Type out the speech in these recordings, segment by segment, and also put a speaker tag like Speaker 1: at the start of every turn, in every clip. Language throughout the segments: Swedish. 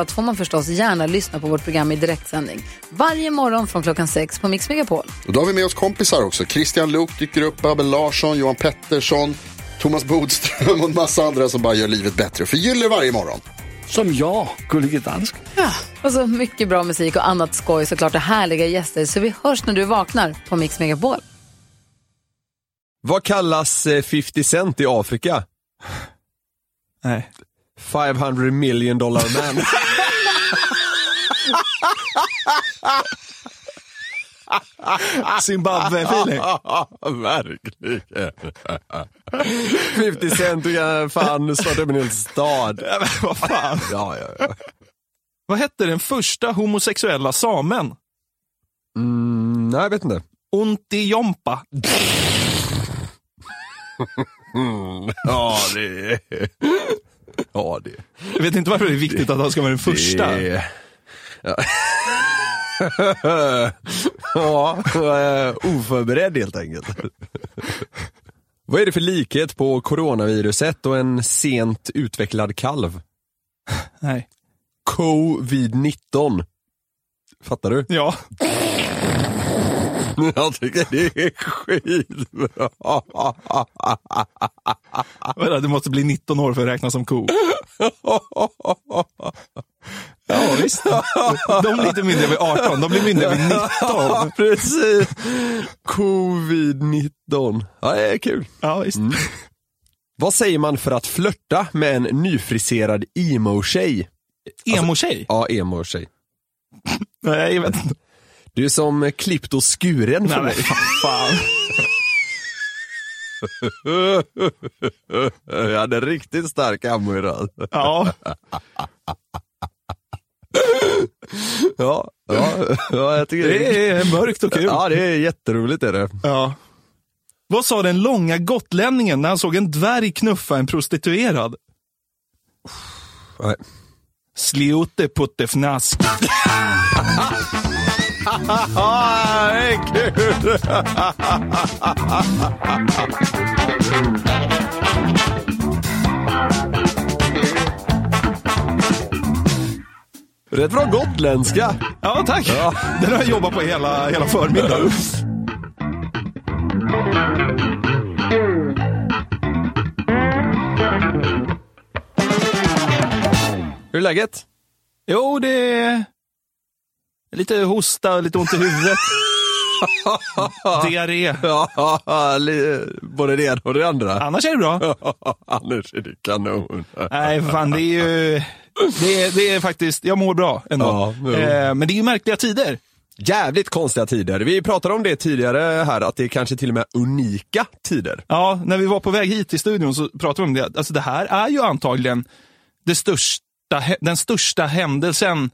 Speaker 1: allt får man förstås gärna lyssna på vårt program i direktsändning. Varje morgon från klockan sex på Mix Megapol.
Speaker 2: Och då har vi med oss kompisar också. Christian Luuk dyker upp, Abel Larsson, Johan Pettersson, Thomas Bodström och en massa andra som bara gör livet bättre för gillar varje morgon.
Speaker 3: Som jag, Gullige Dansken.
Speaker 1: Och så mycket bra musik och annat skoj såklart och härliga gäster. Så vi hörs när du vaknar på Mix Megapol.
Speaker 4: Vad kallas eh, 50 cent i Afrika?
Speaker 5: Nej.
Speaker 4: 500 million dollar man.
Speaker 5: Ah. Zimbabwe-feeling.
Speaker 4: Verkligen. 50 cent, du kan fan starta upp en hel stad.
Speaker 5: Ja, men vad fan.
Speaker 4: Ja, ja, ja.
Speaker 5: Vad hette den första homosexuella samen?
Speaker 4: Mm, nej, jag vet inte.
Speaker 5: Onti Jompa.
Speaker 4: Ja, det Ja, det
Speaker 5: Jag vet inte varför det är viktigt att han ska vara den första.
Speaker 4: Det... Ja. ja, jag är oförberedd helt enkelt. Vad är det för likhet på coronaviruset och en sent utvecklad kalv?
Speaker 5: Nej.
Speaker 4: Covid-19. Fattar du?
Speaker 5: Ja,
Speaker 4: Jag tycker det är skitbra.
Speaker 5: vadå, du måste bli 19 år för att räknas som ko. Ja, visst. De är lite mindre vid 18, de blir mindre vid 19.
Speaker 4: Ja, precis. Covid-19. Ja, det är kul.
Speaker 5: Ja, visst.
Speaker 4: Vad säger man för att flörta med en nyfriserad emo-tjej?
Speaker 5: Alltså- Emo-tjej?
Speaker 4: Ja, emo-tjej.
Speaker 5: Nej, jag vet inte.
Speaker 4: Du är som klippt och skuren för
Speaker 5: Nej,
Speaker 4: mig.
Speaker 5: men fan.
Speaker 4: Jag hade riktigt stark ammo idag.
Speaker 5: Ja,
Speaker 4: Ja, ja, ja, jag tycker det är...
Speaker 5: det är mörkt och kul.
Speaker 4: Ja, det är jätteroligt är det.
Speaker 5: Ja. Vad sa den långa gotlänningen när han såg en dvärg knuffa en prostituerad?
Speaker 4: Nej.
Speaker 5: Sliote puttefnask.
Speaker 4: Ah, det är kul! Rätt bra gotländska.
Speaker 5: Ja, tack.
Speaker 4: Ja.
Speaker 5: Den har jag jobbat på hela, hela förmiddagen.
Speaker 4: Hur är läget?
Speaker 5: Jo, det är lite hosta, lite ont i huvudet. Diarré.
Speaker 4: Ja, li- både det ena och det andra.
Speaker 5: Annars är det bra.
Speaker 4: Annars är det kanon.
Speaker 5: Nej, för fan, det är ju... Det är, det är faktiskt, jag mår bra ändå.
Speaker 4: Ja, jo.
Speaker 5: eh, men det är ju märkliga tider.
Speaker 4: Jävligt konstiga tider. Vi pratade om det tidigare här, att det är kanske till och med unika tider.
Speaker 5: Ja, när vi var på väg hit till studion så pratade vi om det. Alltså det här är ju antagligen det största, hä- den största händelsen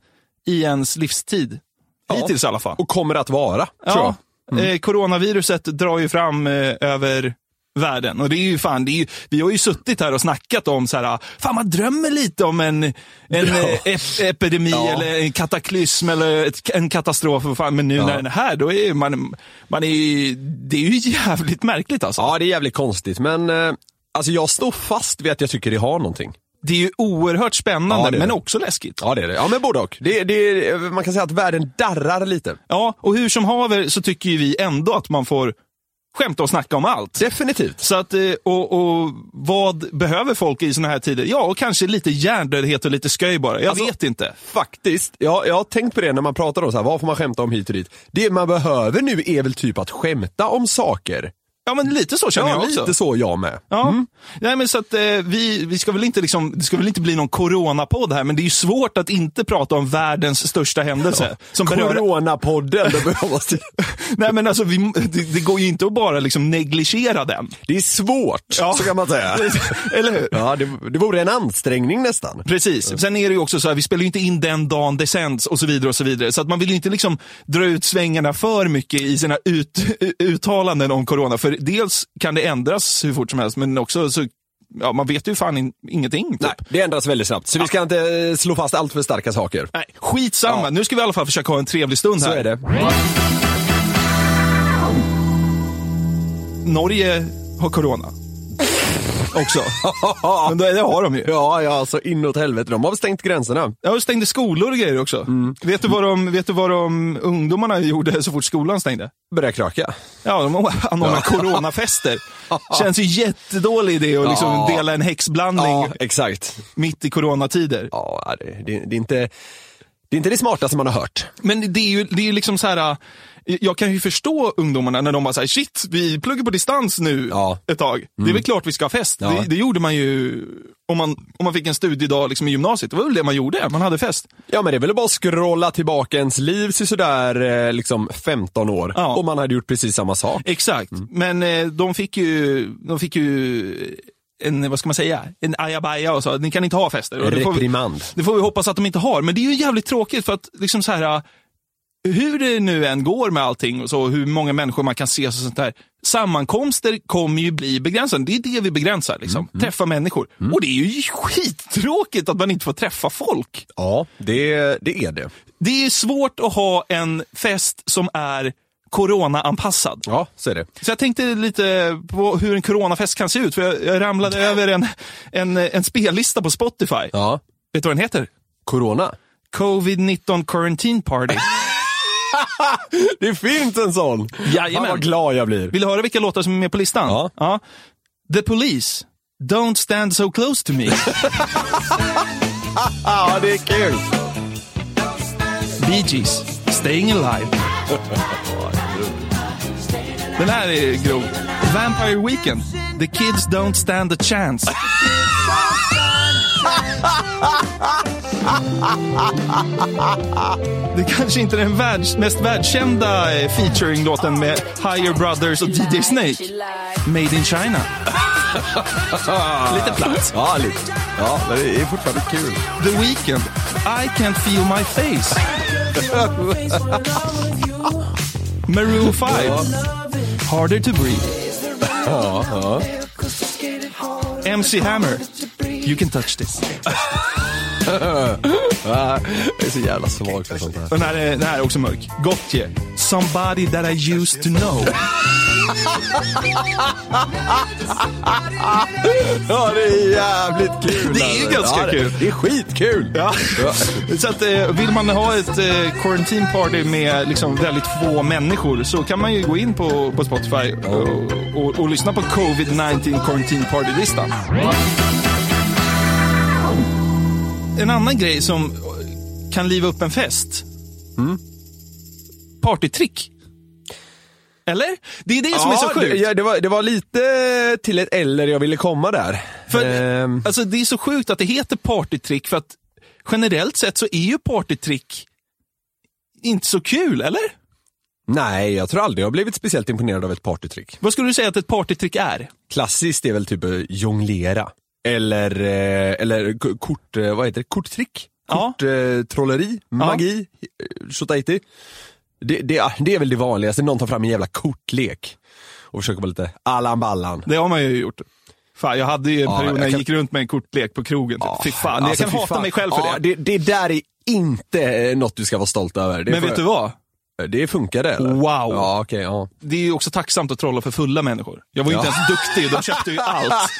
Speaker 5: i ens livstid. Hittills i alla fall.
Speaker 4: Och kommer att vara, tror jag. Mm.
Speaker 5: Ja, eh, coronaviruset drar ju fram eh, över världen. Och det är ju fan, det är ju, vi har ju suttit här och snackat om så här, fan man drömmer lite om en, en eh, ep epidemi eller en kataklysm eller ett, en katastrof. Och fan, men nu när den är här, då är man, man är ju, det är ju jävligt märkligt alltså.
Speaker 4: Ja, det är jävligt konstigt, men eh, alltså jag står fast vid att jag tycker det har någonting.
Speaker 5: Det är ju oerhört spännande,
Speaker 4: Ja, det är det.
Speaker 5: men också läskigt.
Speaker 4: Ja, det är det. Ja, men både och. Det, det, man kan säga att världen darrar lite.
Speaker 5: Ja, och hur som haver så tycker ju vi ändå att man får skämta och snacka om allt.
Speaker 4: Definitivt.
Speaker 5: Så att, eh, och, och vad behöver folk i såna här tider? Ja, och kanske lite hjärndödhet och lite sköj bara. Jag
Speaker 4: Alltså-
Speaker 5: vet inte.
Speaker 4: Faktiskt. Ja, jag har tänkt på det när man pratar om så här, vad får man skämta om hit och dit. Det man behöver nu är väl typ att skämta om saker
Speaker 5: Ja, men lite så känner jag
Speaker 4: Ja,
Speaker 5: också.
Speaker 4: lite så Mm. jag med.
Speaker 5: Ja. Nej, men så att, eh, vi, vi ska väl inte liksom, det ska väl inte bli någon coronapodd här, men det är ju svårt att inte prata om världens största händelse. Som berör...
Speaker 4: Coronapodden, det behövs.
Speaker 5: Nej, men alltså, vi, det, det går ju inte att bara liksom negligera den.
Speaker 4: Det är svårt,
Speaker 5: Ja.
Speaker 4: så kan man säga.
Speaker 5: Eller hur?
Speaker 4: Ja, det, det vore en ansträngning nästan.
Speaker 5: Precis. Sen är det ju också så här, vi spelar ju inte in den dagen det sänds och så vidare och så vidare. Så att man vill ju inte liksom dra ut svängarna för mycket i sina ut, uttalanden om corona. För dels kan det ändras hur fort som helst, men också så, ja, man vet ju fan in, ingenting. Typ.
Speaker 4: Nej, det ändras väldigt snabbt, så vi ska inte eh, slå fast allt för starka saker.
Speaker 5: Nej, skitsamma.
Speaker 4: Ja.
Speaker 5: Nu ska vi i alla fall försöka ha en trevlig stund
Speaker 4: Så
Speaker 5: här.
Speaker 4: är det.
Speaker 5: Norge har corona. Också. Men det, det har de ju.
Speaker 4: Ja, ja, alltså inåt helvete. De har stängt gränserna.
Speaker 5: Ja, och stängde skolor och grejer också.
Speaker 4: Mm.
Speaker 5: Vet, du vad de, vet du vad de ungdomarna gjorde så fort skolan stängde?
Speaker 4: Börjar kröka.
Speaker 5: Ja, de anordnar coronafester. Känns ju jättedålig idé att liksom
Speaker 4: Ja.
Speaker 5: dela en häxblandning
Speaker 4: Ja, exakt.
Speaker 5: mitt i coronatider.
Speaker 4: Ja, det, det, det, är inte, det är inte det smartaste man har hört.
Speaker 5: Men det är ju det är ju liksom så här, äh, jag kan ju förstå ungdomarna när de bara säger shit, vi pluggar på distans nu
Speaker 4: Ja. Mm.
Speaker 5: ett tag. Det är väl klart vi ska ha fest.
Speaker 4: Ja.
Speaker 5: Det, det gjorde man ju om man, om man fick en studiedag liksom i gymnasiet. Det var väl det man gjorde, man hade fest.
Speaker 4: Ja, men det är väl bara att scrolla tillbaka ens liv till sådär eh, liksom 15 år
Speaker 5: Ja.
Speaker 4: och man hade gjort precis samma sak.
Speaker 5: Exakt,
Speaker 4: Mm.
Speaker 5: men eh, de fick ju, de fick ju en, vad ska man säga, en ajabaja och sa ni kan inte ha fester. Och det får vi-
Speaker 4: Reprimand.
Speaker 5: Det får vi hoppas att de inte har, men det är ju jävligt tråkigt för att liksom så här, hur det nu än går med allting och så, hur många människor man kan ses och sånt där. Sammankomster kommer ju bli begränsade. Det är det vi begränsar,
Speaker 4: Mm,
Speaker 5: liksom. träffa människor. Och det är ju skittråkigt att man inte får träffa folk.
Speaker 4: Ja, det, det är det.
Speaker 5: Det är svårt att ha en fest som är corona-anpassad.
Speaker 4: Ja, så är det.
Speaker 5: Så jag tänkte lite på hur en coronafest kan se ut, för jag, jag ramlade över en, en, en spellista på Spotify.
Speaker 4: Ja.
Speaker 5: Vet du vad den heter?
Speaker 4: Corona.
Speaker 5: Covid-19 Quarantine Party.
Speaker 4: Det finns en sån!
Speaker 5: Jajamän.
Speaker 4: Fan vad glad jag blir.
Speaker 5: Vill du höra vilka låtar som är med på listan?
Speaker 4: Ja.
Speaker 5: The Police, Don't stand so close to me.
Speaker 4: Ja, det är kul!
Speaker 5: Bee Gees, Staying alive. Den här är grov. Vampire Weekend, The kids don't stand a chance. Det kanske inte är den världs, mest världskända eh, featuring-låten med Higher Brothers och DJ Snake. Made in China. Lite platt.
Speaker 4: Ja, lite. Ja, men det är fortfarande kul.
Speaker 5: The Weeknd, I can't feel my face. Maroon 5, Harder to breathe. MC Hammer, You can touch this.
Speaker 4: Det är så jävla svagt för sånt här.
Speaker 5: Den här är, den här är också mörk. Gotye, Somebody that I used to know.
Speaker 4: Ja, det är jävligt kul!
Speaker 5: Det är
Speaker 4: alltså.
Speaker 5: ganska
Speaker 4: ja, det-
Speaker 5: kul.
Speaker 4: Det är skitkul!
Speaker 5: Ja. Så att, eh, vill man ha ett eh, quarantine party med liksom, väldigt få människor så kan man ju gå in på, på Spotify och, och, och lyssna på covid-19 quarantine party-listan. En annan grej som kan liva upp en fest.
Speaker 4: Mm.
Speaker 5: Partytrick. Eller? Det är det som är så sjukt.
Speaker 4: Det, ja, det, var, det var lite till ett eller jag ville komma där.
Speaker 5: För,
Speaker 4: Ehm,
Speaker 5: alltså, det är så sjukt att det heter partytrick för att generellt sett så är ju partytrick inte så kul, eller?
Speaker 4: nej, jag tror aldrig jag har blivit speciellt imponerad av ett partytrick.
Speaker 5: Vad skulle du säga att ett partytrick är?
Speaker 4: Klassiskt är väl typ eh, jonglera. Eller, eh, eller k- kort, eh, vad heter det? Korttrick?
Speaker 5: Ja.
Speaker 4: Korttrolleri? Magi? eh, Tjotahejti? Det, det, det är väl det vanligaste, någon tar fram en jävla kortlek och försöker vara lite Allan Ballan.
Speaker 5: Det har man ju gjort. Fan, jag hade ju en
Speaker 4: Ja,
Speaker 5: period när
Speaker 4: jag
Speaker 5: jag
Speaker 4: kan-
Speaker 5: gick runt med en kortlek på krogen. Typ. fy fan,
Speaker 4: Alltså,
Speaker 5: jag
Speaker 4: fy
Speaker 5: kan hata
Speaker 4: fan.
Speaker 5: mig själv för
Speaker 4: ja,
Speaker 5: det.
Speaker 4: det. Det där är inte eh, något du ska vara stolt över. Det
Speaker 5: Men
Speaker 4: får-
Speaker 5: vet du vad?
Speaker 4: Det funkade eller?
Speaker 5: Wow.
Speaker 4: Ja, okej, ja.
Speaker 5: Det är ju också tacksamt att trolla för fulla människor. Jag var ju inte ens duktig, de köpte ju allt.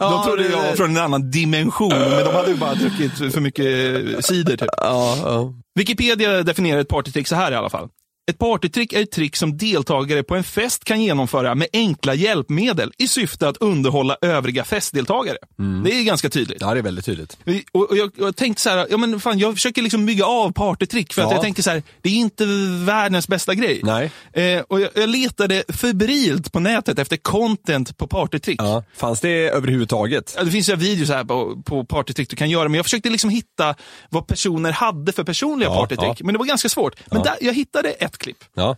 Speaker 5: De trodde jag var från en annan dimension, men de hade ju bara druckit för mycket cider typ.
Speaker 4: Ja, ja.
Speaker 5: Wikipedia definierar ett partytrick så här i alla fall. Ett partytrick är ett trick som deltagare på en fest kan genomföra med enkla hjälpmedel i syfte att underhålla övriga festdeltagare. Det är ganska tydligt.
Speaker 4: Mm. Ja, det är väldigt tydligt.
Speaker 5: Vi- Och, och jag, jag tänkte så här, ja, men fan, jag försöker liksom bygga av partytrick för att
Speaker 4: Ja.
Speaker 5: jag tänkte så här, det är inte världens bästa grej.
Speaker 4: Nej.
Speaker 5: Eh, och jag, jag letade febrilt på nätet efter content på partytrick.
Speaker 4: Ja. Fanns det överhuvudtaget?
Speaker 5: Ja, Det finns ju videos här på, på partytrick du kan göra, men jag försökte liksom hitta vad personer hade för personliga
Speaker 4: Ja,
Speaker 5: partytrick.
Speaker 4: ja.
Speaker 5: Men det var ganska svårt. Men
Speaker 4: Ja.
Speaker 5: där, jag hittade ett klipp.
Speaker 4: Ja.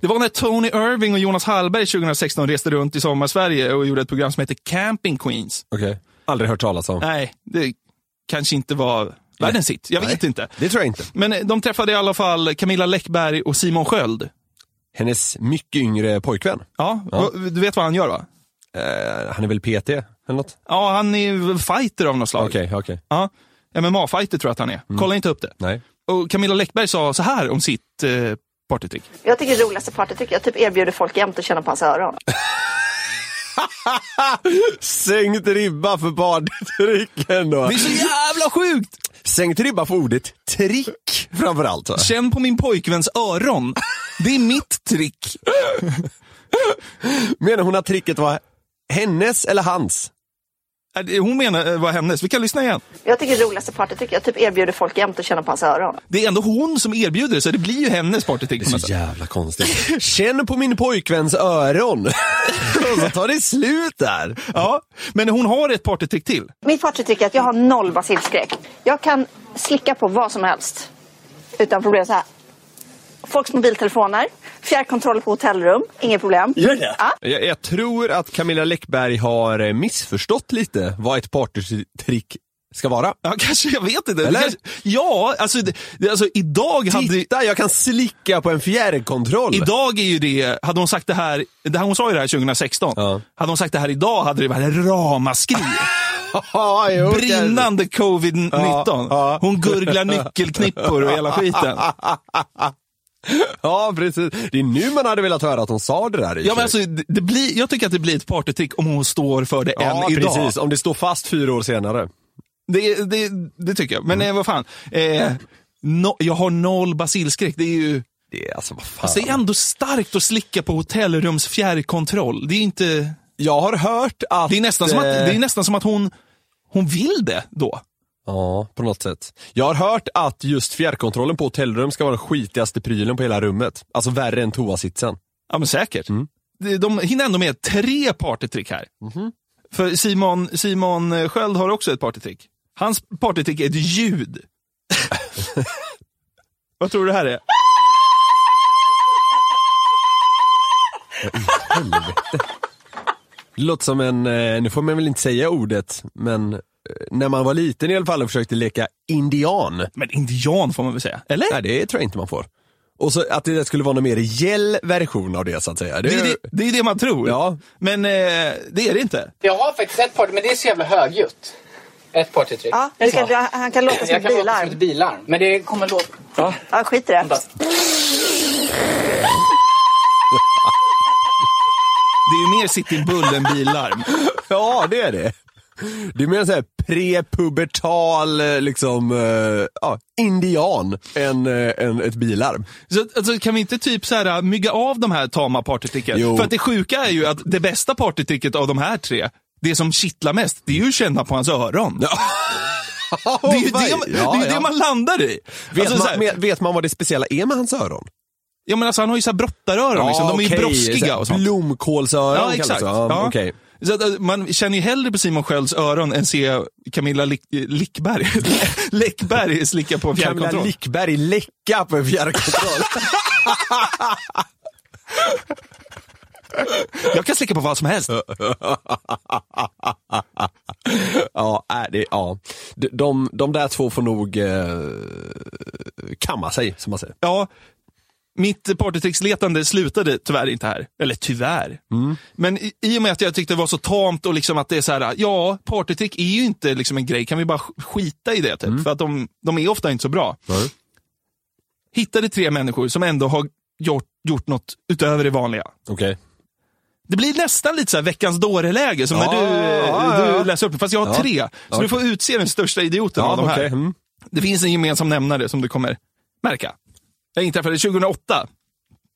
Speaker 5: Det var när Tony Irving och Jonas Hallberg 2016 reste runt i sommar-Sverige och gjorde ett program som heter Camping Queens.
Speaker 4: Okej. Aldrig hört talas om.
Speaker 5: Nej, det kanske inte var världens hit. Jag vet inte.
Speaker 4: Det tror jag inte.
Speaker 5: Men eh, de träffade i alla fall Camilla Läckberg och Simon Sköld.
Speaker 4: Hennes mycket yngre pojkvän.
Speaker 5: Ja,
Speaker 4: Ja.
Speaker 5: Du vet vad han gör va?
Speaker 4: Eh, han är väl PT eller något?
Speaker 5: Ja, han är fighter av något slag.
Speaker 4: Okej, Mm. okej.
Speaker 5: Ja, MMA-fighter tror jag att han är. Kolla inte upp det.
Speaker 4: Nej.
Speaker 5: Och Camilla Läckberg sa så här om sitt eh, partytrick.
Speaker 6: Jag tycker det roligaste partytricket, jag typ erbjuder folk jämt att känna på hans öron.
Speaker 4: Sänkt ribba för partytricken då.
Speaker 5: Det är så jävla sjukt!
Speaker 4: Sänkt ribba för ordet trick framförallt. va?
Speaker 5: Känn på min pojkväns öron. Det är mitt trick.
Speaker 4: Menar hon att tricket var hennes eller hans?
Speaker 5: Äh, det- Hon menar eh, var hennes. Vi kan lyssna igen.
Speaker 6: Jag tycker det roligaste partytricket, jag typ erbjuder folk jämt att känna på hans öron.
Speaker 5: Det är ändå hon som erbjuder det, så det blir ju hennes partytrick. på något sätt.
Speaker 4: jävla konstigt. Känn på min pojkväns öron. Och så tar det slut där.
Speaker 5: Ja, men hon har ett partytrick till.
Speaker 6: Mitt partytrick är att jag har noll basilskräck. Jag kan slicka på vad som helst. Utan problem så här. Folks mobiltelefoner, fjärrkontroller på hotellrum, inget problem. Gör det? Ja.
Speaker 4: Jag, jag tror att Camilla Läckberg har eh, missförstått lite vad ett partytrick ska vara.
Speaker 5: Ja, kanske. Jag vet inte.
Speaker 4: Eller?
Speaker 5: Kanske, ja, alltså, det, det- alltså idag hade...
Speaker 4: Titta, jag kan slicka på en fjärrkontroll.
Speaker 5: Idag är ju det, hade hon sagt det här, det här hon sa ju det här 2016.
Speaker 4: Ja.
Speaker 5: Hade hon sagt det här idag hade det varit ramaskri.
Speaker 4: Ja, jo,
Speaker 5: brinnande covid-19.
Speaker 4: Ja, ja.
Speaker 5: Hon gurglar nyckelknippor och hela skiten.
Speaker 4: Ja, precis. Det är nu man hade velat höra att hon sa det där. i och
Speaker 5: Ja, men
Speaker 4: för
Speaker 5: alltså,
Speaker 4: sig.
Speaker 5: det det blir, jag tycker att det blir ett partytrick om hon står för det än alltså, idag.
Speaker 4: precis. Om det står fast fyra år senare.
Speaker 5: Det, det, det tycker jag. Men
Speaker 4: Mm.
Speaker 5: eh, vad fan. Eh, no, jag har noll basilskräck. Det är ju
Speaker 4: Det är alltså, vad fan.
Speaker 5: alltså, det är ändå starkt att slicka på hotellrums fjärrkontroll. Det är, inte,
Speaker 4: jag har hört att...
Speaker 5: det är, nästan, som att,
Speaker 4: eh,
Speaker 5: det är nästan som att hon, hon vill det då.
Speaker 4: Ja, på något sätt. Jag har hört att just fjärrkontrollen på hotellrum ska vara den skitigaste prylen på hela rummet. Alltså värre än toasitsen.
Speaker 5: Ja, men säkert. De, de hinner ändå med tre partytrick här. För Simon, Simon eh, Sköld har också ett partytrick. Hans partytrick är ett ljud. Vad tror du det här är?
Speaker 4: Det låter som en, eh, nu får man väl inte säga ordet, men eh, när man var liten i alla fall och försökte leka indian.
Speaker 5: Men indian får man väl säga? Eller?
Speaker 4: Nej, det tror jag inte man får. Och så att det skulle vara någon mer rejäl version av det så att säga.
Speaker 5: Det är det, det, är det man tror.
Speaker 4: Ja.
Speaker 5: Men eh, det är det inte.
Speaker 7: Jag har faktiskt ett party, men det är så jävla högljutt. Ett partytrick.
Speaker 6: ja men det kan, han kan låta som
Speaker 7: Jag
Speaker 6: ett
Speaker 7: kan låta som
Speaker 6: bilarm.
Speaker 7: ett bilarm, men det kommer låta...
Speaker 6: Ja, skit i det.
Speaker 5: Det är ju mer sitt i bullen bilarm.
Speaker 4: Ja, det är det. Det är mer såhär prepubertal, eh, liksom, eh, ja, indian än, eh, än ett bilarm.
Speaker 5: Så, alltså, kan vi inte typ så här, mygga av de här tama partytricken?
Speaker 4: Jo.
Speaker 5: För att det sjuka är ju att det bästa partytricket av de här tre, det som kittlar mest, det är ju att känna på hans öron. Det är ju det, man- det, är ju det man landar i.
Speaker 4: Vet,
Speaker 5: Alltså, så här,
Speaker 4: man, men- vet man vad det speciella är med hans öron?
Speaker 5: ja, men alltså, han har ju så här brottaröron, liksom. de är ju
Speaker 4: okej, så
Speaker 5: broskiga
Speaker 4: här
Speaker 5: och sånt.
Speaker 4: Blomkålsöron
Speaker 5: Ja,
Speaker 4: kallas det.
Speaker 5: exakt.
Speaker 4: Ja,
Speaker 5: Ja.
Speaker 4: okej.
Speaker 5: Så att, eh, man känner ju hellre på Simon Skölds öron än se Camilla Lick, Lickberg, Läckberg slicka på en
Speaker 4: Camilla
Speaker 5: fjärrkontroll.
Speaker 4: Lickberg läcka på en fjärrkontroll.
Speaker 5: Jag kan slicka på vad som helst.
Speaker 4: ja, äh, det, ja. De, de, de där två får nog eh, kamma sig, som man säger.
Speaker 5: Ja, mitt partytricksletande slutade tyvärr inte här. Eller tyvärr.
Speaker 4: Mm.
Speaker 5: Men i, i och med att jag tyckte det var så tamt och liksom att det är så här, ja, partytrick är ju inte liksom en grej. Kan vi bara sk- skita i det? Typ?
Speaker 4: Mm.
Speaker 5: För att de, de är ofta inte så bra. Hittade tre människor som ändå har gjort, gjort något utöver det vanliga.
Speaker 4: Okej.
Speaker 5: Det blir nästan lite så här veckans dåre-läge som när
Speaker 4: Ja,
Speaker 5: du,
Speaker 4: ja, ja.
Speaker 5: du läser upp det. Fast jag har
Speaker 4: Ja.
Speaker 5: tre. Så
Speaker 4: Ja.
Speaker 5: du får utse den största idioten av de
Speaker 4: Ja,
Speaker 5: här.
Speaker 4: okej. Mm.
Speaker 5: Det finns en gemensam nämnare som du kommer märka. Det inträffade 2008.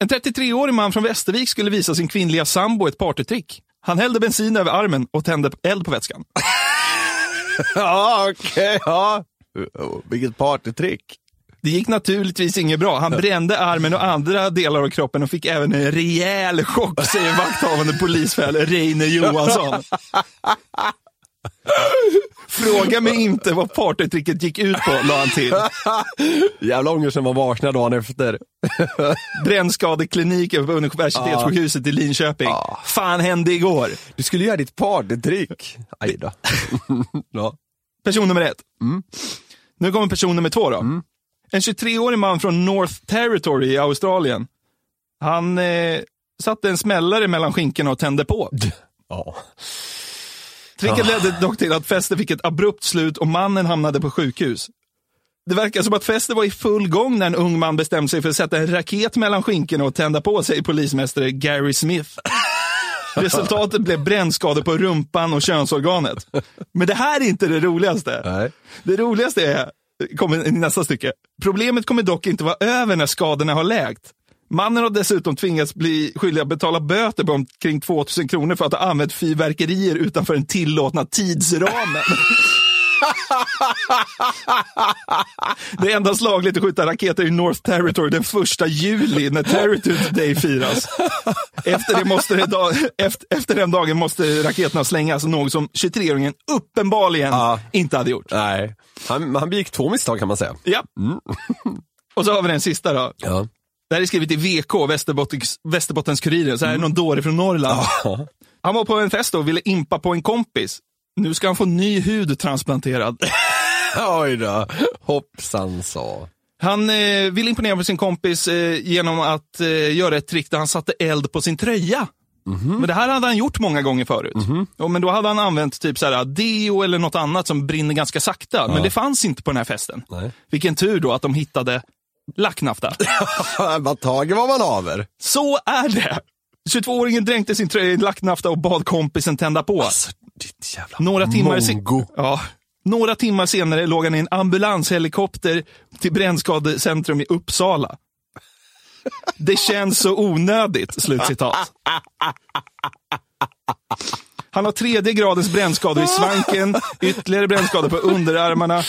Speaker 5: En 33-årig man från Västervik skulle visa sin kvinnliga sambo ett partytrick. Han hällde bensin över armen och tände eld på vätskan.
Speaker 4: Ja, okej. ja. Vilket partytrick.
Speaker 5: Det gick naturligtvis inget bra. Han brände armen och andra delar av kroppen och fick även en rejäl chock, säger vakthavande polisfäl Reine Johansson. Fråga mig inte vad partytricket gick ut på, la han till.
Speaker 4: Jävla ångest när man vaknar dagen efter.
Speaker 5: Brännskadekliniken på universitetssjukhuset i Linköping. Fan hände igår?
Speaker 4: Du skulle göra ditt partytrick. Aj då. ja.
Speaker 5: Person nummer ett. Nu kommer person nummer två då. En 23-årig man från North Territory i Australien. Han eh, satte en smällare mellan skinkorna och tände på.
Speaker 4: ja.
Speaker 5: Tricket ledde dock till att festen fick ett abrupt slut och mannen hamnade på sjukhus. Det verkar som att festen var i full gång när en ung man bestämde sig för att sätta en raket mellan skinkorna och tända på sig polismästare Gary Smith. Resultatet blev brännskador på rumpan och könsorganet. Men det här är inte det roligaste.
Speaker 4: Nej.
Speaker 5: Det roligaste är, kommer i nästa stycke. Problemet kommer dock inte vara över när skadorna har läkt. Mannen har dessutom tvingats bli skyldig att betala böter på omkring 2000 kronor för att ha använt fyrverkerier utanför den tillåtna tidsramen. Det är endast lagligt att skjuta raketer i North Territory den första juli när Territory Day firas. Efter, det måste det da- efter, efter den dagen måste raketerna slängas, något som 23-åringen uppenbarligen
Speaker 4: Ja.
Speaker 5: inte hade gjort.
Speaker 4: Nej. Han, han begick två misstag kan man säga.
Speaker 5: Ja. Och så har vi den sista då.
Speaker 4: Ja.
Speaker 5: Det här är skrivet i VK, Västerbottens, Västerbottens Kuriren, så här är någon dåre från Norrland. Han var på en fest då och ville impa på en kompis. Nu ska han få ny hud transplanterad.
Speaker 4: Oj då. Hoppsan sa.
Speaker 5: Han eh, ville imponera på sin kompis eh, genom att eh, göra ett trick där han satte eld på sin tröja. Men det här hade han gjort många gånger förut. Ja, men då hade han använt typ så här, deo eller något annat som brinner ganska sakta. Men det fanns inte på den här festen.
Speaker 4: Nej.
Speaker 5: Vilken tur då att de hittade lacknafta.
Speaker 4: Man tager vad man haver.
Speaker 5: Så är det. 22-åringen dränkte sin tröja i lacknafta och bad kompisen tända på.
Speaker 4: Alltså, Ditt jävla
Speaker 5: Några timmar, se-
Speaker 4: mongo.
Speaker 5: ja, några timmar senare låg han i en ambulanshelikopter till brännskadecentrum i Uppsala. Det känns så onödigt, slutcitat. Han har tredje gradens brännskador i svanken, ytterligare brännskador på underarmarna.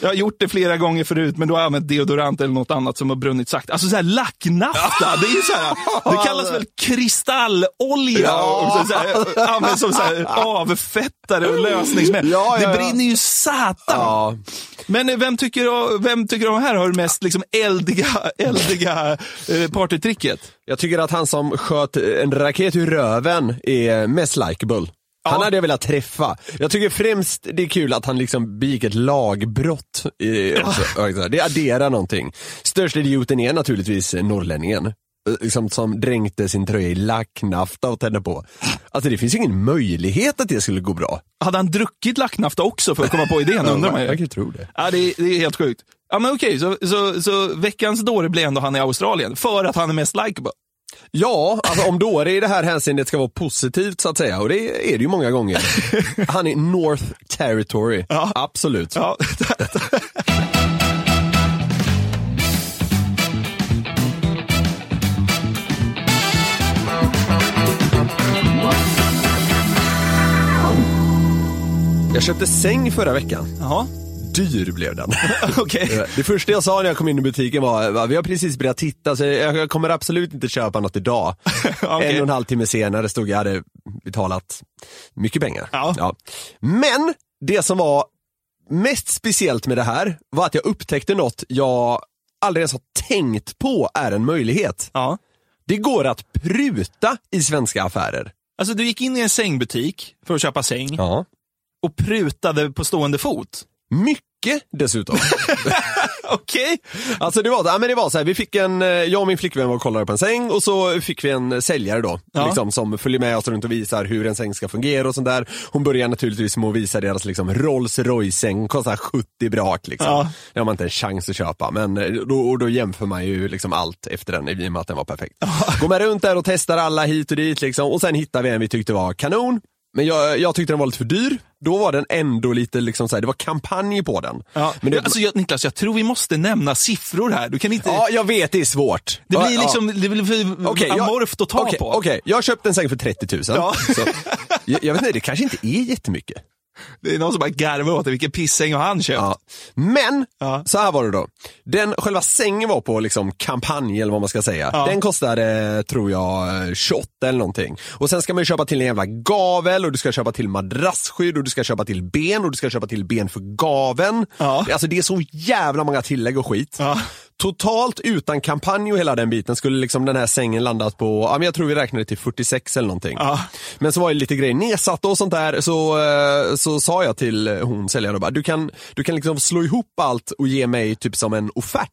Speaker 5: Jag har gjort det flera gånger förut, men då har jag använt deodorant eller något annat som har brunnit sakta. Alltså så här lacknafta, det, är ju så här, det kallas väl kristallolja? Och så så här, används som så här avfettare och lösningsmedel.
Speaker 4: Ja, ja, ja.
Speaker 5: Det brinner ju satan.
Speaker 4: Ja.
Speaker 5: Men eh, vem tycker, vem tycker de här har mest liksom eldiga, eldiga eh, partytricket?
Speaker 4: Jag tycker att han som sköt en raket ur röven är mest likeable. Han hade jag velat träffa. Jag tycker främst det är kul att han liksom begick ett lagbrott. I, också, också. Det adderar någonting. Största idioten är naturligtvis norrlänningen. eh, Liksom, som dränkte sin tröja i lacknafta och tände på. Alltså det finns ju ingen möjlighet att det skulle gå bra.
Speaker 5: Hade han druckit lacknafta också för att komma på idén undrar man
Speaker 4: Jag kan
Speaker 5: ju.
Speaker 4: ju tro det.
Speaker 5: Ja, det, är, det är helt sjukt. Ja, men okej, så, så, så veckans dåre blir ändå han i Australien för att han är mest likeable.
Speaker 4: Ja, alltså om dåre i det här hänseendet ska vara positivt så att säga, och det är det ju många gånger. Han är North Territory, absolut.
Speaker 5: Ja.
Speaker 4: Jag köpte säng förra veckan.
Speaker 5: Jaha,
Speaker 4: Dyr blev den.
Speaker 5: okej.
Speaker 4: Det första jag sa när jag kom in i butiken var, "Va, vi har precis börjat titta så jag jag kommer absolut inte köpa något idag.
Speaker 5: Okej.
Speaker 4: En och en halv timme senare stod jag hade betalat mycket pengar.
Speaker 5: Ja.
Speaker 4: Men det som var mest speciellt med det här var att jag upptäckte något jag aldrig ens har tänkt på är en möjlighet.
Speaker 5: Ja.
Speaker 4: Det går att pruta i svenska affärer.
Speaker 5: Alltså, du gick in i en sängbutik för att köpa säng
Speaker 4: Ja.
Speaker 5: och prutade på stående fot.
Speaker 4: Mycket dessutom.
Speaker 5: Okej.
Speaker 4: Alltså det var, ja, men det var så här, vi fick en, eh, jag och min flickvän var och kollade på en säng och så fick vi en säljare då,
Speaker 5: Ja.
Speaker 4: liksom, som följer med oss runt och visar hur en säng ska fungera och sånt där. Hon börjar naturligtvis med att visa deras liksom, Rolls Royce-säng, kostar 70 brak liksom.
Speaker 5: Ja.
Speaker 4: Det har man inte en chans att köpa, men eh, då, och då jämför man ju liksom allt efter den i och med att den var perfekt. Går man runt där och testar alla hit och dit liksom, och sen hittar vi en vi tyckte var kanon. Men jag, jag tyckte den var lite för dyr. Då var den ändå lite liksom så här, det var kampanj på den.
Speaker 5: Ja.
Speaker 4: Men det,
Speaker 5: alltså, jag, Niklas, jag tror vi måste nämna siffror här. Du kan inte...
Speaker 4: ja, jag vet det är svårt.
Speaker 5: det blir
Speaker 4: Ja.
Speaker 5: liksom det blir för
Speaker 4: Okej, jag-
Speaker 5: amorft att ta
Speaker 4: okej,
Speaker 5: på.
Speaker 4: Okej, jag köpte en säng för 30 000.
Speaker 5: Ja.
Speaker 4: Så, jag, jag vet inte, det kanske inte är jättemycket.
Speaker 5: Det är någon som bara garvar åt det. Vilken pissäng har han köpt?
Speaker 4: Ja. Men,
Speaker 5: Ja.
Speaker 4: så här var det då. Den, själva sängen var på liksom kampanj eller vad man ska säga. Den kostade, tror jag, eh, 28 eller någonting. Och sen ska man ju köpa till en jävla gavel och du ska köpa till madrassskydd och du ska köpa till ben och du ska köpa till ben för gaven.
Speaker 5: Ja.
Speaker 4: Alltså det är så jävla många tillägg och skit.
Speaker 5: Ja.
Speaker 4: Totalt utan kampanj och hela den biten skulle liksom den här sängen landat på, ja men jag tror vi räknade till 46 eller någonting.
Speaker 5: Ja.
Speaker 4: Men så var det lite grejer nedsatta och sånt där, så, eh, så sa jag till hon säljaren och bara, du kan, du kan liksom slå ihop allt och ge mig typ som en offert.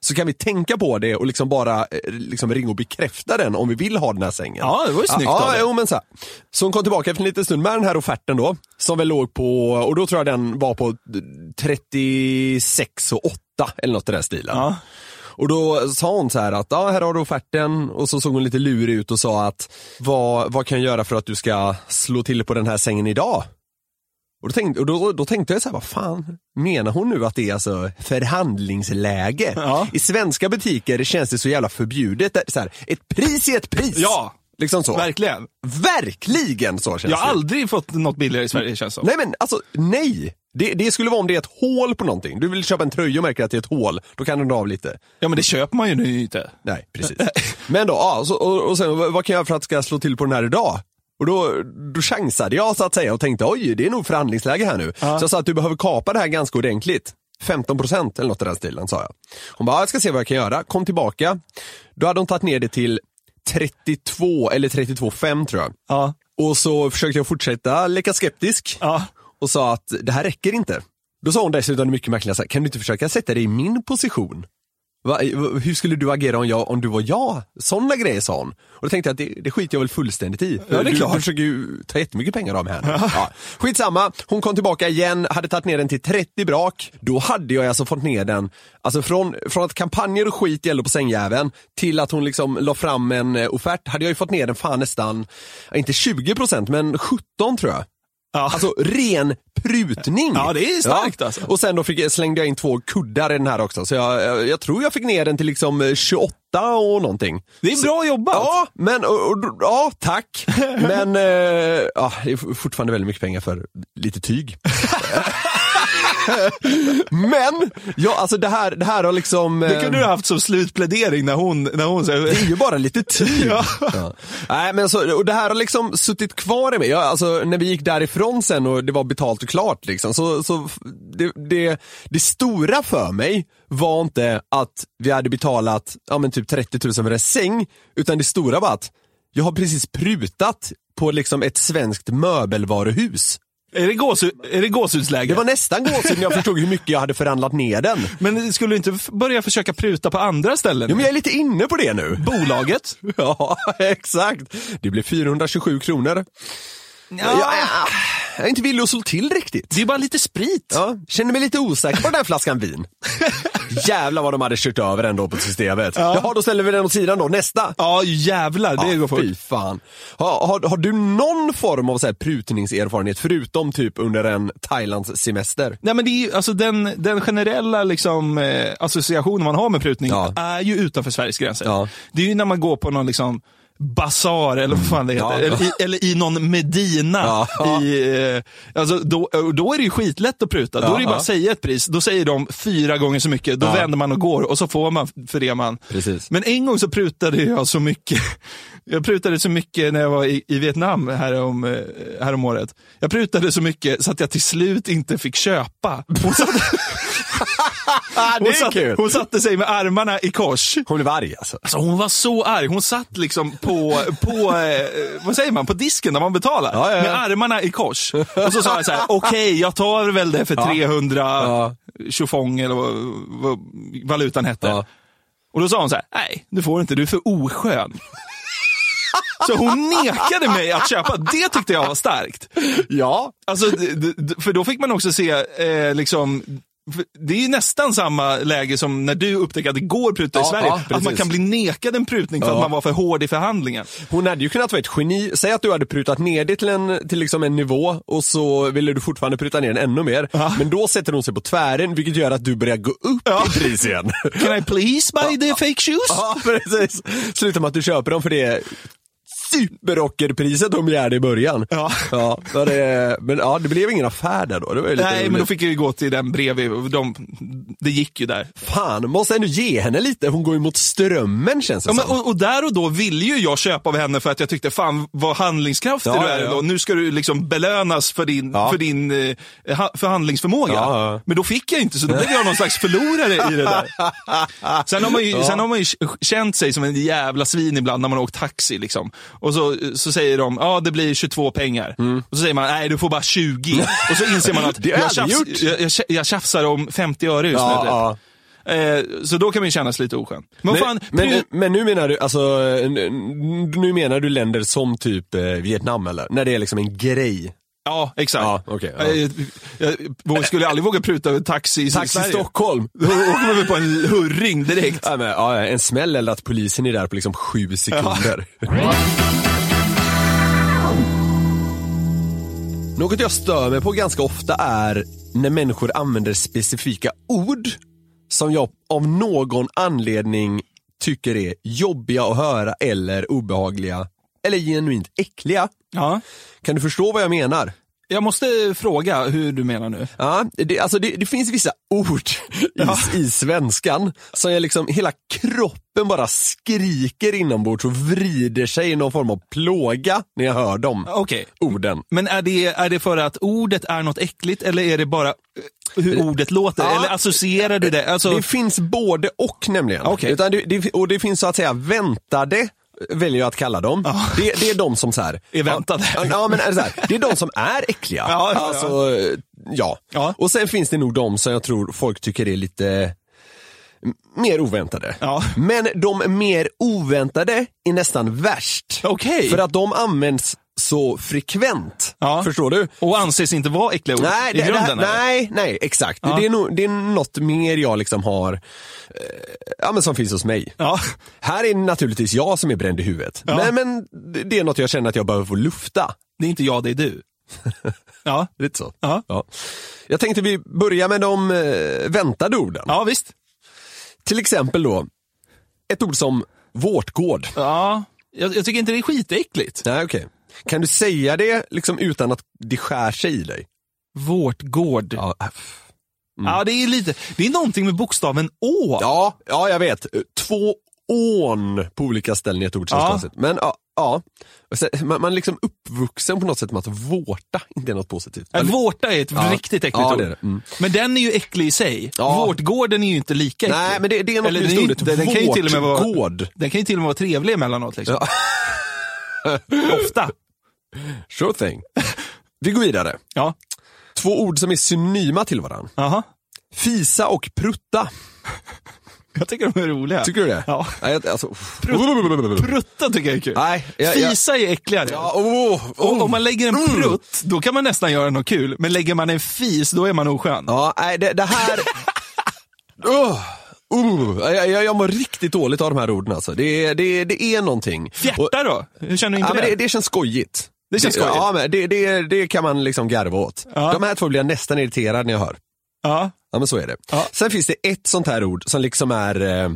Speaker 4: Så kan vi tänka på det och liksom bara eh, liksom ringa och bekräfta den om vi vill ha den här sängen.
Speaker 5: Ja, det var ju snyggt
Speaker 4: ja,
Speaker 5: av dig.
Speaker 4: jo, men så, här. så hon kom tillbaka efter en liten stund med den här offerten då, som väl låg på, och då tror jag den var på 36 och 8 eller något i den här stilen.
Speaker 5: Ja.
Speaker 4: Och då sa hon så här att, ja här har du offerten och så såg hon lite lurig ut och sa att, vad, vad kan jag göra för att du ska slå till på den här sängen idag? Och då tänkte, och då, då tänkte jag så här, vad fan menar hon nu att det är alltså förhandlingsläge?
Speaker 5: Ja.
Speaker 4: I svenska butiker känns det så jävla förbjudet. Det är Så här, ett pris är ett pris!
Speaker 5: Ja.
Speaker 4: Liksom så.
Speaker 5: Verkligen.
Speaker 4: Verkligen så känns
Speaker 5: Jag har
Speaker 4: det.
Speaker 5: aldrig fått något billigare i Sverige känns det som.
Speaker 4: Nej men alltså, nej! Det, det skulle vara om det är ett hål på någonting. Du vill köpa en tröja och märker att det är ett hål, då kan du dra av lite.
Speaker 5: Ja men det köper man ju nu inte.
Speaker 4: Nej, precis. Men då, ja, så, och, och sen, vad vad kan jag göra för att ska slå till på den här idag? Och då, då chansade jag så att säga och tänkte oj, det är nog förhandlingsläge här nu. Så jag sa att du behöver kapa det här ganska ordentligt. 15 procent eller något i den stilen sa jag. Hon bara, ja, jag ska se vad jag kan göra. Kom tillbaka. Då hade hon tagit ner det till 32 eller 32,5 tror jag.
Speaker 5: Ja.
Speaker 4: Och så försökte jag fortsätta leka skeptisk
Speaker 5: Ja.
Speaker 4: och sa att det här räcker inte. Då sa hon dessutom det mycket märkliga, så här, kan du inte försöka sätta dig i min position? Va, va- hur skulle du agera om, jag, om du var jag? Sådana grejer sa hon. Och då tänkte jag att det, det skiter jag väl fullständigt i.
Speaker 5: det är
Speaker 4: du,
Speaker 5: klart.
Speaker 4: du försöker ju ta jättemycket pengar av mig här nu. ja. Skitsamma, hon kom tillbaka igen, hade tagit ner den till 30 brak. Då hade jag alltså fått ner den, alltså från, från att kampanjer och skit gällde på sängjäveln till att hon liksom la fram en eh, offert, hade jag ju fått ner den fan nästan, ja, inte 20% men 17 tror jag.
Speaker 5: Ja.
Speaker 4: Alltså ren prutning.
Speaker 5: Ja, det är starkt, alltså.
Speaker 4: Och sen då fick, slängde jag in två kuddar i den här också, så jag, jag, jag tror jag fick ner den till liksom eh, 28 och någonting.
Speaker 5: Det är bra jobbat.
Speaker 4: Ja, men, och, och, ja tack. Men eh, ja, det är f- fortfarande väldigt mycket pengar för lite tyg. men, ja, alltså det här, det här har liksom...
Speaker 5: Det kunde
Speaker 4: eh,
Speaker 5: du ha haft som slutplädering när hon, när hon
Speaker 4: det är
Speaker 5: säger
Speaker 4: ju bara lite tyg.
Speaker 5: Ja.
Speaker 4: Ja. Nej, men så, och det här har liksom suttit kvar i mig. Jag, alltså, när vi gick därifrån sen och det var betalt och klart, liksom, så, så f- det, det, det stora för mig var inte att vi hade betalat ja, men typ 30 000 för en säng, utan det stora var att jag har precis prutat på liksom ett svenskt möbelvaruhus.
Speaker 5: är det, gås, är det gåshudsläge?
Speaker 4: Det var nästan gåshud när jag förstod hur mycket jag hade förhandlat ner den.
Speaker 5: Men skulle du inte f- börja försöka pruta på andra ställen?
Speaker 4: Jo, men jag är lite inne på det nu.
Speaker 5: Bolaget?
Speaker 4: Ja, exakt. Det blev 427 kronor. Jag, är- jag är inte villig att slå till riktigt.
Speaker 5: Det är bara lite sprit.
Speaker 4: Ja, känner mig lite osäker på den här flaskan vin. Jävlar vad de hade kört över den då på systemet. Jaha, då ställer vi den åt sidan då, nästa.
Speaker 5: Ja, jävlar. Det går
Speaker 4: Ja,
Speaker 5: fort.
Speaker 4: fy fan. Har, har, har du någon form av så här prutningserfarenhet förutom typ under en Thailands semester?
Speaker 5: Nej, men det är ju, alltså den, den generella liksom, eh, associationen man har med prutning
Speaker 4: Ja.
Speaker 5: är ju utanför Sveriges gränser.
Speaker 4: Ja.
Speaker 5: Det är ju när man går på någon liksom basar eller vad fan det heter.
Speaker 4: Ja.
Speaker 5: Eller, i, eller i någon medina.
Speaker 4: Ja.
Speaker 5: I, eh, alltså, då, då är det ju skitlätt att pruta. Då är det ju bara
Speaker 4: Ja.
Speaker 5: att säga ett pris. Då säger de fyra gånger så mycket. Då vänder man och går och så får man för det man...
Speaker 4: Precis.
Speaker 5: Men en gång så prutade jag så mycket. Jag prutade så mycket när jag var i, i Vietnam härom, eh, härom året. Jag prutade så mycket så att jag till slut inte fick köpa. Hon satte,
Speaker 4: Ah,
Speaker 5: hon satte, hon satte sig med armarna i kors.
Speaker 4: Hon blev arg alltså.
Speaker 5: Alltså hon var så arg. Hon satt liksom på, på eh, vad säger man, på disken när man betalar.
Speaker 4: Ja, ja, ja.
Speaker 5: Med armarna i kors. Och så sa jag så här, okej jag tar väl det för 300
Speaker 4: Ja.
Speaker 5: tjofong eller vad, vad valutan hette.
Speaker 4: Ja.
Speaker 5: Och då sa hon så här, nej du får inte, du är för oskön. Så hon nekade mig att köpa, det tyckte jag var starkt.
Speaker 4: Ja,
Speaker 5: Alltså, d- d- d- för då fick man också se eh, liksom, för det är ju nästan samma läge som när du upptäckte att det går att pruta i
Speaker 4: Ja,
Speaker 5: Sverige.
Speaker 4: ja,
Speaker 5: att man
Speaker 4: precis.
Speaker 5: kan bli nekad en prutning för att
Speaker 4: Ja.
Speaker 5: man var för hård i förhandlingen.
Speaker 4: Hon hade ju kunnat vara ett geni. Säg att du hade prutat ner det till, en, till liksom en nivå och så ville du fortfarande pruta ner den ännu mer. Men då sätter hon sig på tvären vilket gör att du börjar gå upp i pris igen.
Speaker 5: Can I please buy the fake shoes?
Speaker 4: ja, precis. Slutar med att du köper dem för det superrockerpriset de begärde i början.
Speaker 5: Ja.
Speaker 4: ja så det, men ja, det blev ingen affär där då. Det var ju lite
Speaker 5: Nej, men då
Speaker 4: roligt.
Speaker 5: fick jag ju gå till den bredvid. och De, det gick ju där.
Speaker 4: Fan, måste ändå ge henne lite. Hon går ju mot strömmen känns det
Speaker 5: Ja, men,
Speaker 4: som.
Speaker 5: och, och där och då ville ju jag köpa av henne för att jag tyckte fan vad handlingskraftig
Speaker 4: Ja,
Speaker 5: du är
Speaker 4: ja, ja.
Speaker 5: ändå. Nu ska du liksom belönas för din,
Speaker 4: Ja.
Speaker 5: för din eh, ha- förhandlingsförmåga.
Speaker 4: Ja, ja.
Speaker 5: Men då fick jag inte så då blev jag någon slags förlorare i det där. Sen har man ju, sen har man ju känt sig som en jävla svin ibland när man har åkt taxi. Liksom. Och så, så säger de, ja det blir 22 pengar. Och så säger man, nej du får bara 20. och så inser man att
Speaker 4: Mm. Det har
Speaker 5: jag,
Speaker 4: jag aldrig
Speaker 5: tjafs,
Speaker 4: gjort.
Speaker 5: jag, jag, jag tjafsar om 50 öre just
Speaker 4: Ja,
Speaker 5: nu. typ.
Speaker 4: ja.
Speaker 5: Eh, så då kan man ju kännas lite oskön. Men, vad fan,
Speaker 4: men,
Speaker 5: pru-
Speaker 4: men, men nu menar du alltså, eh, n- n- nu menar du länder som typ eh, Vietnam eller? När det är liksom en grej.
Speaker 5: Ja, exakt.
Speaker 4: Ja, okej, ja.
Speaker 5: Jag, jag, jag skulle aldrig våga pruta över taxi i
Speaker 4: Taxi
Speaker 5: Sverige.
Speaker 4: Stockholm.
Speaker 5: Då åker man väl på en hurring direkt.
Speaker 4: Ja, men, ja, en smäll eller att polisen är där på liksom sju sekunder. Något jag stör mig på ganska ofta är när människor använder specifika ord som jag av någon anledning tycker är jobbiga att höra eller obehagliga eller genuint äckliga.
Speaker 5: Ja.
Speaker 4: Kan du förstå vad jag menar?
Speaker 5: Jag måste fråga hur du menar nu.
Speaker 4: Ja, det, alltså det, det finns vissa ord i, i svenskan som jag liksom, hela kroppen bara skriker inombords och vrider sig i någon form av plåga när jag hör dem
Speaker 5: Okej.
Speaker 4: orden.
Speaker 5: Men är det, är det för att ordet är något äckligt eller är det bara eh, hur ordet låter?
Speaker 4: Ja.
Speaker 5: Eller associerar du det? Alltså,
Speaker 4: Det finns både och nämligen.
Speaker 5: Okej.
Speaker 4: Utan det, det, och det finns så att säga väntade, väljer jag att kalla dem. Det, det är de som så här,
Speaker 5: Är väntade.
Speaker 4: Ja, ja, men är det, så här, det är de som är äckliga.
Speaker 5: Ja, ja, ja.
Speaker 4: alltså, ja.
Speaker 5: Ja.
Speaker 4: Och sen finns det nog de som jag tror folk tycker är lite m- mer oväntade.
Speaker 5: Ja.
Speaker 4: Men de mer oväntade är nästan värst.
Speaker 5: Okej.
Speaker 4: För att de används så frekvent.
Speaker 5: Ja.
Speaker 4: Förstår du?
Speaker 5: Och anses inte vara äckliga ord
Speaker 4: Nej,
Speaker 5: i
Speaker 4: det, det,
Speaker 5: grunden?
Speaker 4: här-
Speaker 5: eller?
Speaker 4: nej, nej, exakt.
Speaker 5: Ja.
Speaker 4: Det, är nog, det är något mer jag liksom har, eh, ja men som finns hos mig.
Speaker 5: Ja.
Speaker 4: Här är naturligtvis jag som är bränd i huvudet.
Speaker 5: Ja.
Speaker 4: Men, men det- det är något jag känner att jag behöver få lufta.
Speaker 5: Det är inte jag, det är du. Ja,
Speaker 4: Lite så.
Speaker 5: Ja.
Speaker 4: Jag tänkte vi börjar med de eh, väntade orden.
Speaker 5: ja visst.
Speaker 4: Till exempel då, ett ord som vårtgård.
Speaker 5: Ja. Jag, jag tycker inte det är skitäckligt.
Speaker 4: Nej, okej. Kan du säga det liksom utan att det skär sig i dig?
Speaker 5: Vårt gård.
Speaker 4: Ja, äh,
Speaker 5: Ja, det är lite, det är någonting med bokstaven Å.
Speaker 4: ja, ja jag vet. Två ån på olika ställen i ett ord känns
Speaker 5: Ja.
Speaker 4: konstigt. Men ja, ja. Och sen, man, man är liksom uppvuxen på något sätt med att vårta inte är något positivt.
Speaker 5: Att vårta är ett
Speaker 4: Ja.
Speaker 5: riktigt äckligt
Speaker 4: Ja,
Speaker 5: ord.
Speaker 4: det är det. Mm.
Speaker 5: Men den är ju äcklig i sig.
Speaker 4: Ja.
Speaker 5: Vårtgården är ju inte lika äcklig.
Speaker 4: Nej, men det, det är något
Speaker 5: Eller
Speaker 4: med
Speaker 5: den, är ju
Speaker 4: ordet
Speaker 5: inte- den, kan ju till och med vara,
Speaker 4: vårtgård.
Speaker 5: den kan ju till och med vara trevlig emellanåt. Liksom. Ofta.
Speaker 4: Sure thing. Vi går vidare.
Speaker 5: Ja.
Speaker 4: Två ord som är synonyma till varandra.
Speaker 5: Aha.
Speaker 4: Fisa och prutta.
Speaker 5: Jag tycker de är roliga.
Speaker 4: Tycker du det?
Speaker 5: Ja.
Speaker 4: Nej, jag- alltså,
Speaker 5: Prutta tycker jag är kul.
Speaker 4: Nej, jag- jag-
Speaker 5: Fisa är äckligare.
Speaker 4: Ja, oh,
Speaker 5: Och
Speaker 4: oh.
Speaker 5: om man lägger en prutt, då kan man nästan göra något kul. Men lägger man en fis, då är man oskön.
Speaker 4: Ja, nej, det, det här... oh, oh, jag, jag, jag mår riktigt dåligt av de här orden alltså. Det, är- det, är- det är någonting. Och-
Speaker 5: Fjärta då? Hur känner du
Speaker 4: Ja,
Speaker 5: inte
Speaker 4: men
Speaker 5: det?
Speaker 4: det, det känns skojigt.
Speaker 5: Det känns skojigt.
Speaker 4: Ja, men det, det, det kan man liksom garva åt.
Speaker 5: Ja.
Speaker 4: De här två blir jag nästan irriterad när jag hör.
Speaker 5: Ja.
Speaker 4: Ja men så är det.
Speaker 5: Ja.
Speaker 4: Sen finns det ett sånt här ord som liksom är eh,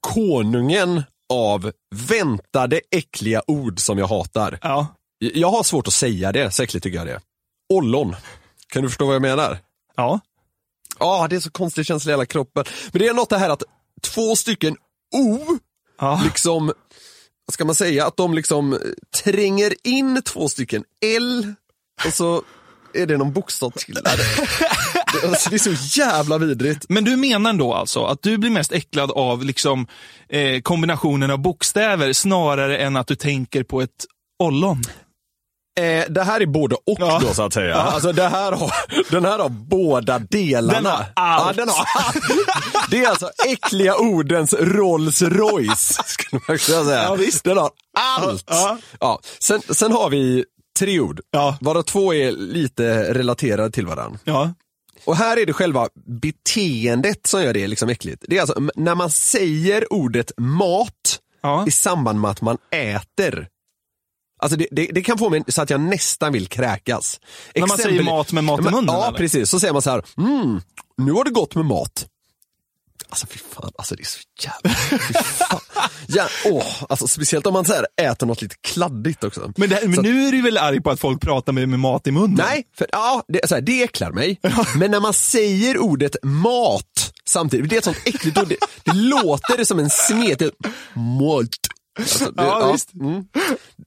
Speaker 4: konungen av väntade äckliga ord som jag hatar.
Speaker 5: Ja.
Speaker 4: J- Jag har svårt att säga det, så äckligt tycker jag det är. Ollon. Kan du förstå vad jag menar?
Speaker 5: ja.
Speaker 4: Ja, det är så konstig känsla i hela kroppen. Men det är något det här att två stycken O,
Speaker 5: Ja.
Speaker 4: liksom, vad ska man säga, att de liksom eh, tränger in två stycken L och så är det någon bokstav till där. Det, alltså, det är så jävla vidrigt.
Speaker 5: Men du menar då alltså att du blir mest äcklad av liksom, eh, kombinationen av bokstäver snarare än att du tänker på ett ollon?
Speaker 4: Eh, det här är både och
Speaker 5: Ja.
Speaker 4: då så att säga. Alltså, det här har, den här har båda delarna.
Speaker 5: Den har allt.
Speaker 4: den har allt. Det är alltså äckliga ordens Rolls Royce. Skulle man kunna säga.
Speaker 5: Ja, visst.
Speaker 4: Den har allt.
Speaker 5: Ja.
Speaker 4: Ja. Sen, sen har vi tre ord,
Speaker 5: Ja.
Speaker 4: varav två är lite relaterade till varandra.
Speaker 5: Ja.
Speaker 4: Och här är det själva beteendet som gör det liksom äckligt. Det är alltså m- när man säger ordet mat
Speaker 5: Ja.
Speaker 4: i samband med att man äter. Alltså det, det, det kan få mig så att jag nästan vill kräkas.
Speaker 5: När man säger mat med mat i
Speaker 4: Ja, men-
Speaker 5: munnen,
Speaker 4: Ja,
Speaker 5: eller?
Speaker 4: precis. Så säger man så här, mm, nu har det gått med mat. Alltså fy fan, alltså det är så jävla... Fy fan. Ja, åh, alltså, speciellt om man så här äter något lite kladdigt också.
Speaker 5: Men, det,
Speaker 4: Så
Speaker 5: men
Speaker 4: att-
Speaker 5: nu är du väl arg på att folk pratar med, med mat i munnen?
Speaker 4: Nej, för, ja, det, så här, det äcklar mig. Men när man säger ordet mat samtidigt, det är ett sånt äckligt ord. Det, det låter som en smet. Det- Malt. Alltså, det,
Speaker 5: Ja, visst.
Speaker 4: Mm,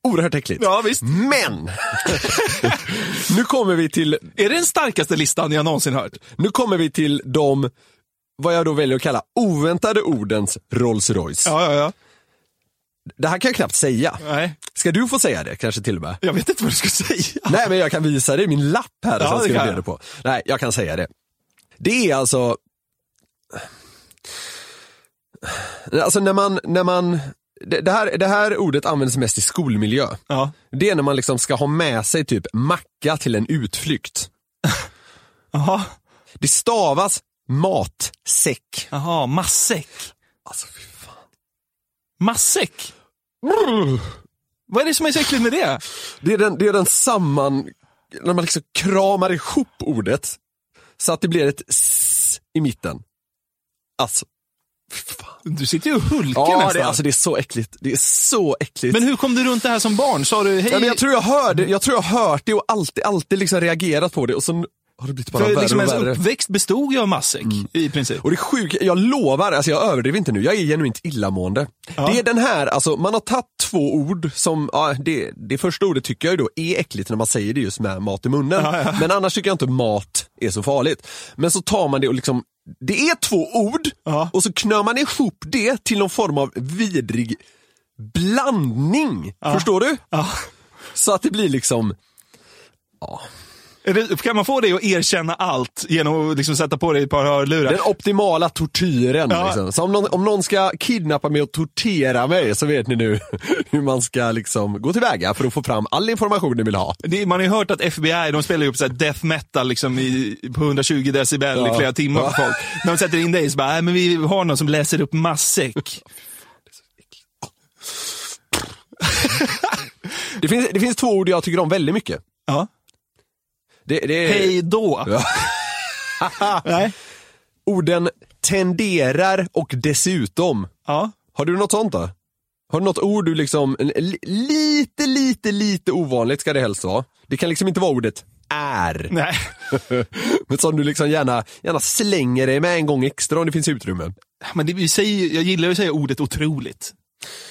Speaker 4: oerhört äckligt.
Speaker 5: Ja, visst.
Speaker 4: Men! nu, kommer vi till,
Speaker 5: Är det den starkaste listan jag någonsin hört?
Speaker 4: nu kommer vi till de, vad jag då väljer att kalla oväntade ordens Rolls Royce.
Speaker 5: Ja, ja, ja.
Speaker 4: Det här kan jag knappt säga.
Speaker 5: Nej,
Speaker 4: Ska du få säga det kanske till och med?
Speaker 5: jag vet inte vad du ska säga.
Speaker 4: Nej men jag kan visa dig min lapp här som
Speaker 5: Ja, det
Speaker 4: jag
Speaker 5: kan
Speaker 4: skrev ner
Speaker 5: jag.
Speaker 4: det på. Nej, jag kan säga det. Det är alltså... Alltså när man, när man... Det det här, det här ordet används mest i skolmiljö.
Speaker 5: Ja.
Speaker 4: Det är när man liksom ska ha med sig typ macka till en utflykt.
Speaker 5: Jaha,
Speaker 4: Det stavas matsäck.
Speaker 5: Jaha. massäck.
Speaker 4: Alltså fy fan.
Speaker 5: Massäck? Vad är det som är så äckligt med det?
Speaker 4: Det är den, det är den samman... När man liksom kramar ihop ordet så att det blir ett s i mitten. Alltså, fy fan.
Speaker 5: Du sitter ju och hulkar
Speaker 4: Ja,
Speaker 5: nästan.
Speaker 4: det, alltså det är så äckligt. Det är så äckligt.
Speaker 5: Men hur kom du runt det här som barn? Sa du hej?
Speaker 4: ja, men jag tror jag hörde, jag tror jag hört det och alltid, alltid liksom reagerat på det och sen har det blivit bara
Speaker 5: för
Speaker 4: värre
Speaker 5: liksom
Speaker 4: och
Speaker 5: ens
Speaker 4: värre.
Speaker 5: uppväxt bestod ju av massäck i princip.
Speaker 4: Mm. Och det sjuka, jag lovar, alltså jag överdriver inte nu, jag är genuint illamående. Det är den här, alltså man har tagit två ord som, ja, det, det första ordet tycker jag ju då är äckligt när man säger det just med mat i munnen. Men annars tycker jag inte mat är så farligt. Men så tar man det och liksom, det är två ord
Speaker 5: Ja.
Speaker 4: och så knör man ihop det till någon form av vidrig blandning. Förstår du?
Speaker 5: Ja.
Speaker 4: Så att det blir liksom,
Speaker 5: Är det, kan man få dig att erkänna allt genom att liksom sätta på dig ett par hörlurar?
Speaker 4: Den optimala tortyren.
Speaker 5: Ja.
Speaker 4: Liksom. Så om någon, om någon ska kidnappa mig och tortera mig så vet ni nu hur man ska liksom gå tillväga för att få fram all information ni vill ha.
Speaker 5: Det, man har ju hört att FBI de spelar ju upp så här death metal liksom i, på 120 decibel i flera timmar på folk. När de sätter in dig så bara, "Nej, men vi har någon som läser upp massäck.
Speaker 4: Det finns, det finns två ord jag tycker om väldigt mycket.
Speaker 5: Ja.
Speaker 4: Det, det är
Speaker 5: Hej då. Nej.
Speaker 4: orden tenderar och dessutom.
Speaker 5: Ja.
Speaker 4: Har du något sånt då? Har du något ord du liksom, en- li- lite, lite, lite ovanligt ska det helst vara. Det kan liksom inte vara ordet är.
Speaker 5: Nej.
Speaker 4: Men som du liksom gärna, gärna slänger dig med en gång extra om det finns utrymme.
Speaker 5: Men det, vi säger, jag gillar ju att säga ordet otroligt.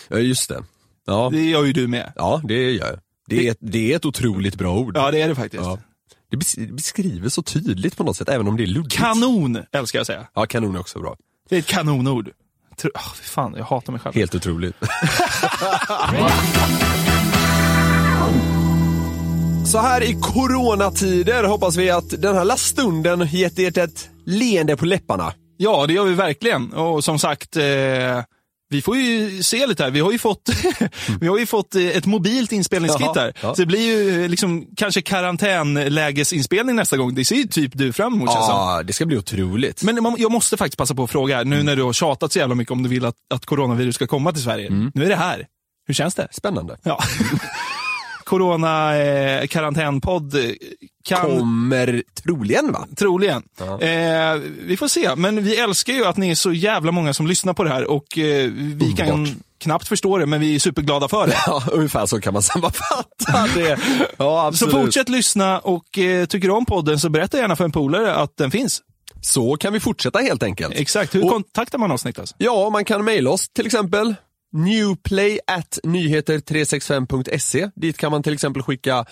Speaker 4: Ja, just det. Ja,
Speaker 5: Det gör ju du med.
Speaker 4: ja det gör jag. Det är, ett, det är ett otroligt bra ord.
Speaker 5: Ja, det är det faktiskt.
Speaker 4: Ja. Det bes- beskriver så tydligt på något sätt, även om det är luddigt.
Speaker 5: Kanon älskar jag att säga.
Speaker 4: Ja, kanon är också bra.
Speaker 5: Det är ett kanonord. Tro, oh, fy fan, jag hatar mig själv.
Speaker 4: Helt otroligt. så här i coronatider hoppas vi att den här lilla stunden gett ert ett leende på läpparna.
Speaker 5: Ja, det gör vi verkligen. Och som sagt, eh, vi får ju se lite här. Vi har ju fått, vi har ju fått eh, ett mobilt inspelningskit
Speaker 4: Jaha,
Speaker 5: här.
Speaker 4: ja.
Speaker 5: Så det blir ju eh, liksom kanske karantänlägesinspelning nästa gång. Det ser ju typ du fram emot känns det som.
Speaker 4: Ja, Mm. det ska bli otroligt.
Speaker 5: Men man- jag måste faktiskt passa på att fråga, här, nu när du har tjatat så jävla mycket om du vill att, att coronavirus ska komma till Sverige.
Speaker 4: Mm.
Speaker 5: Nu är det här. Hur känns det?
Speaker 4: Spännande.
Speaker 5: Ja. Corona eh, karantänpodd eh, kan
Speaker 4: Kommer troligen va?
Speaker 5: troligen. Eh, vi får se, men vi älskar ju att ni är så jävla många som lyssnar på det här och eh, vi
Speaker 4: Underbart.
Speaker 5: kan knappt förstå det, men vi är superglada för det.
Speaker 4: Ja, ungefär så kan man sammanfatta det. Ja,
Speaker 5: Så
Speaker 4: absolut.
Speaker 5: fortsätt lyssna och eh, tycker du om podden så berätta gärna för en polare att den finns.
Speaker 4: Så kan vi fortsätta helt enkelt.
Speaker 5: Exakt, hur
Speaker 4: Och-
Speaker 5: kontaktar man alltså? oss Niklas?
Speaker 4: Ja, man kan mejla oss till exempel newplay at nyheter365.se. E. Dit kan man till exempel skicka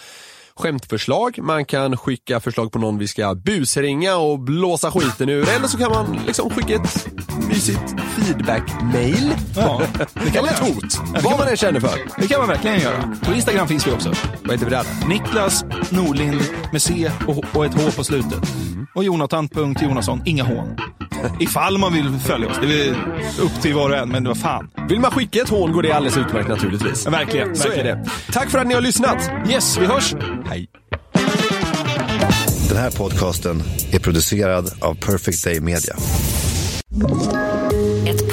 Speaker 4: skämtförslag, man kan skicka förslag på någon vi ska busringa och blåsa skiten ur. Eller så kan man liksom skicka ett mysigt feedback-mail.
Speaker 5: Ja, det kan
Speaker 4: Eller
Speaker 5: man
Speaker 4: ett
Speaker 5: göra.
Speaker 4: hot, vad man än känner för.
Speaker 5: Det kan man verkligen göra. På Instagram finns vi också.
Speaker 4: Vad heter vi där?
Speaker 5: Niklas Norlind med C och, och ett H på slutet.
Speaker 4: Mm.
Speaker 5: Och Jonathan.Jonasson, inga H. Ifall man vill följa oss, det är upp till var och en, men vad fan.
Speaker 4: Vill man skicka ett hån går det alldeles utmärkt naturligtvis.
Speaker 5: Verkligen,
Speaker 4: Så är
Speaker 5: verkligen.
Speaker 4: det. Tack för att ni har lyssnat.
Speaker 5: Yes, vi hörs!
Speaker 4: Hej.
Speaker 8: Den här podcasten är producerad av Perfect Day Media.
Speaker 1: Ett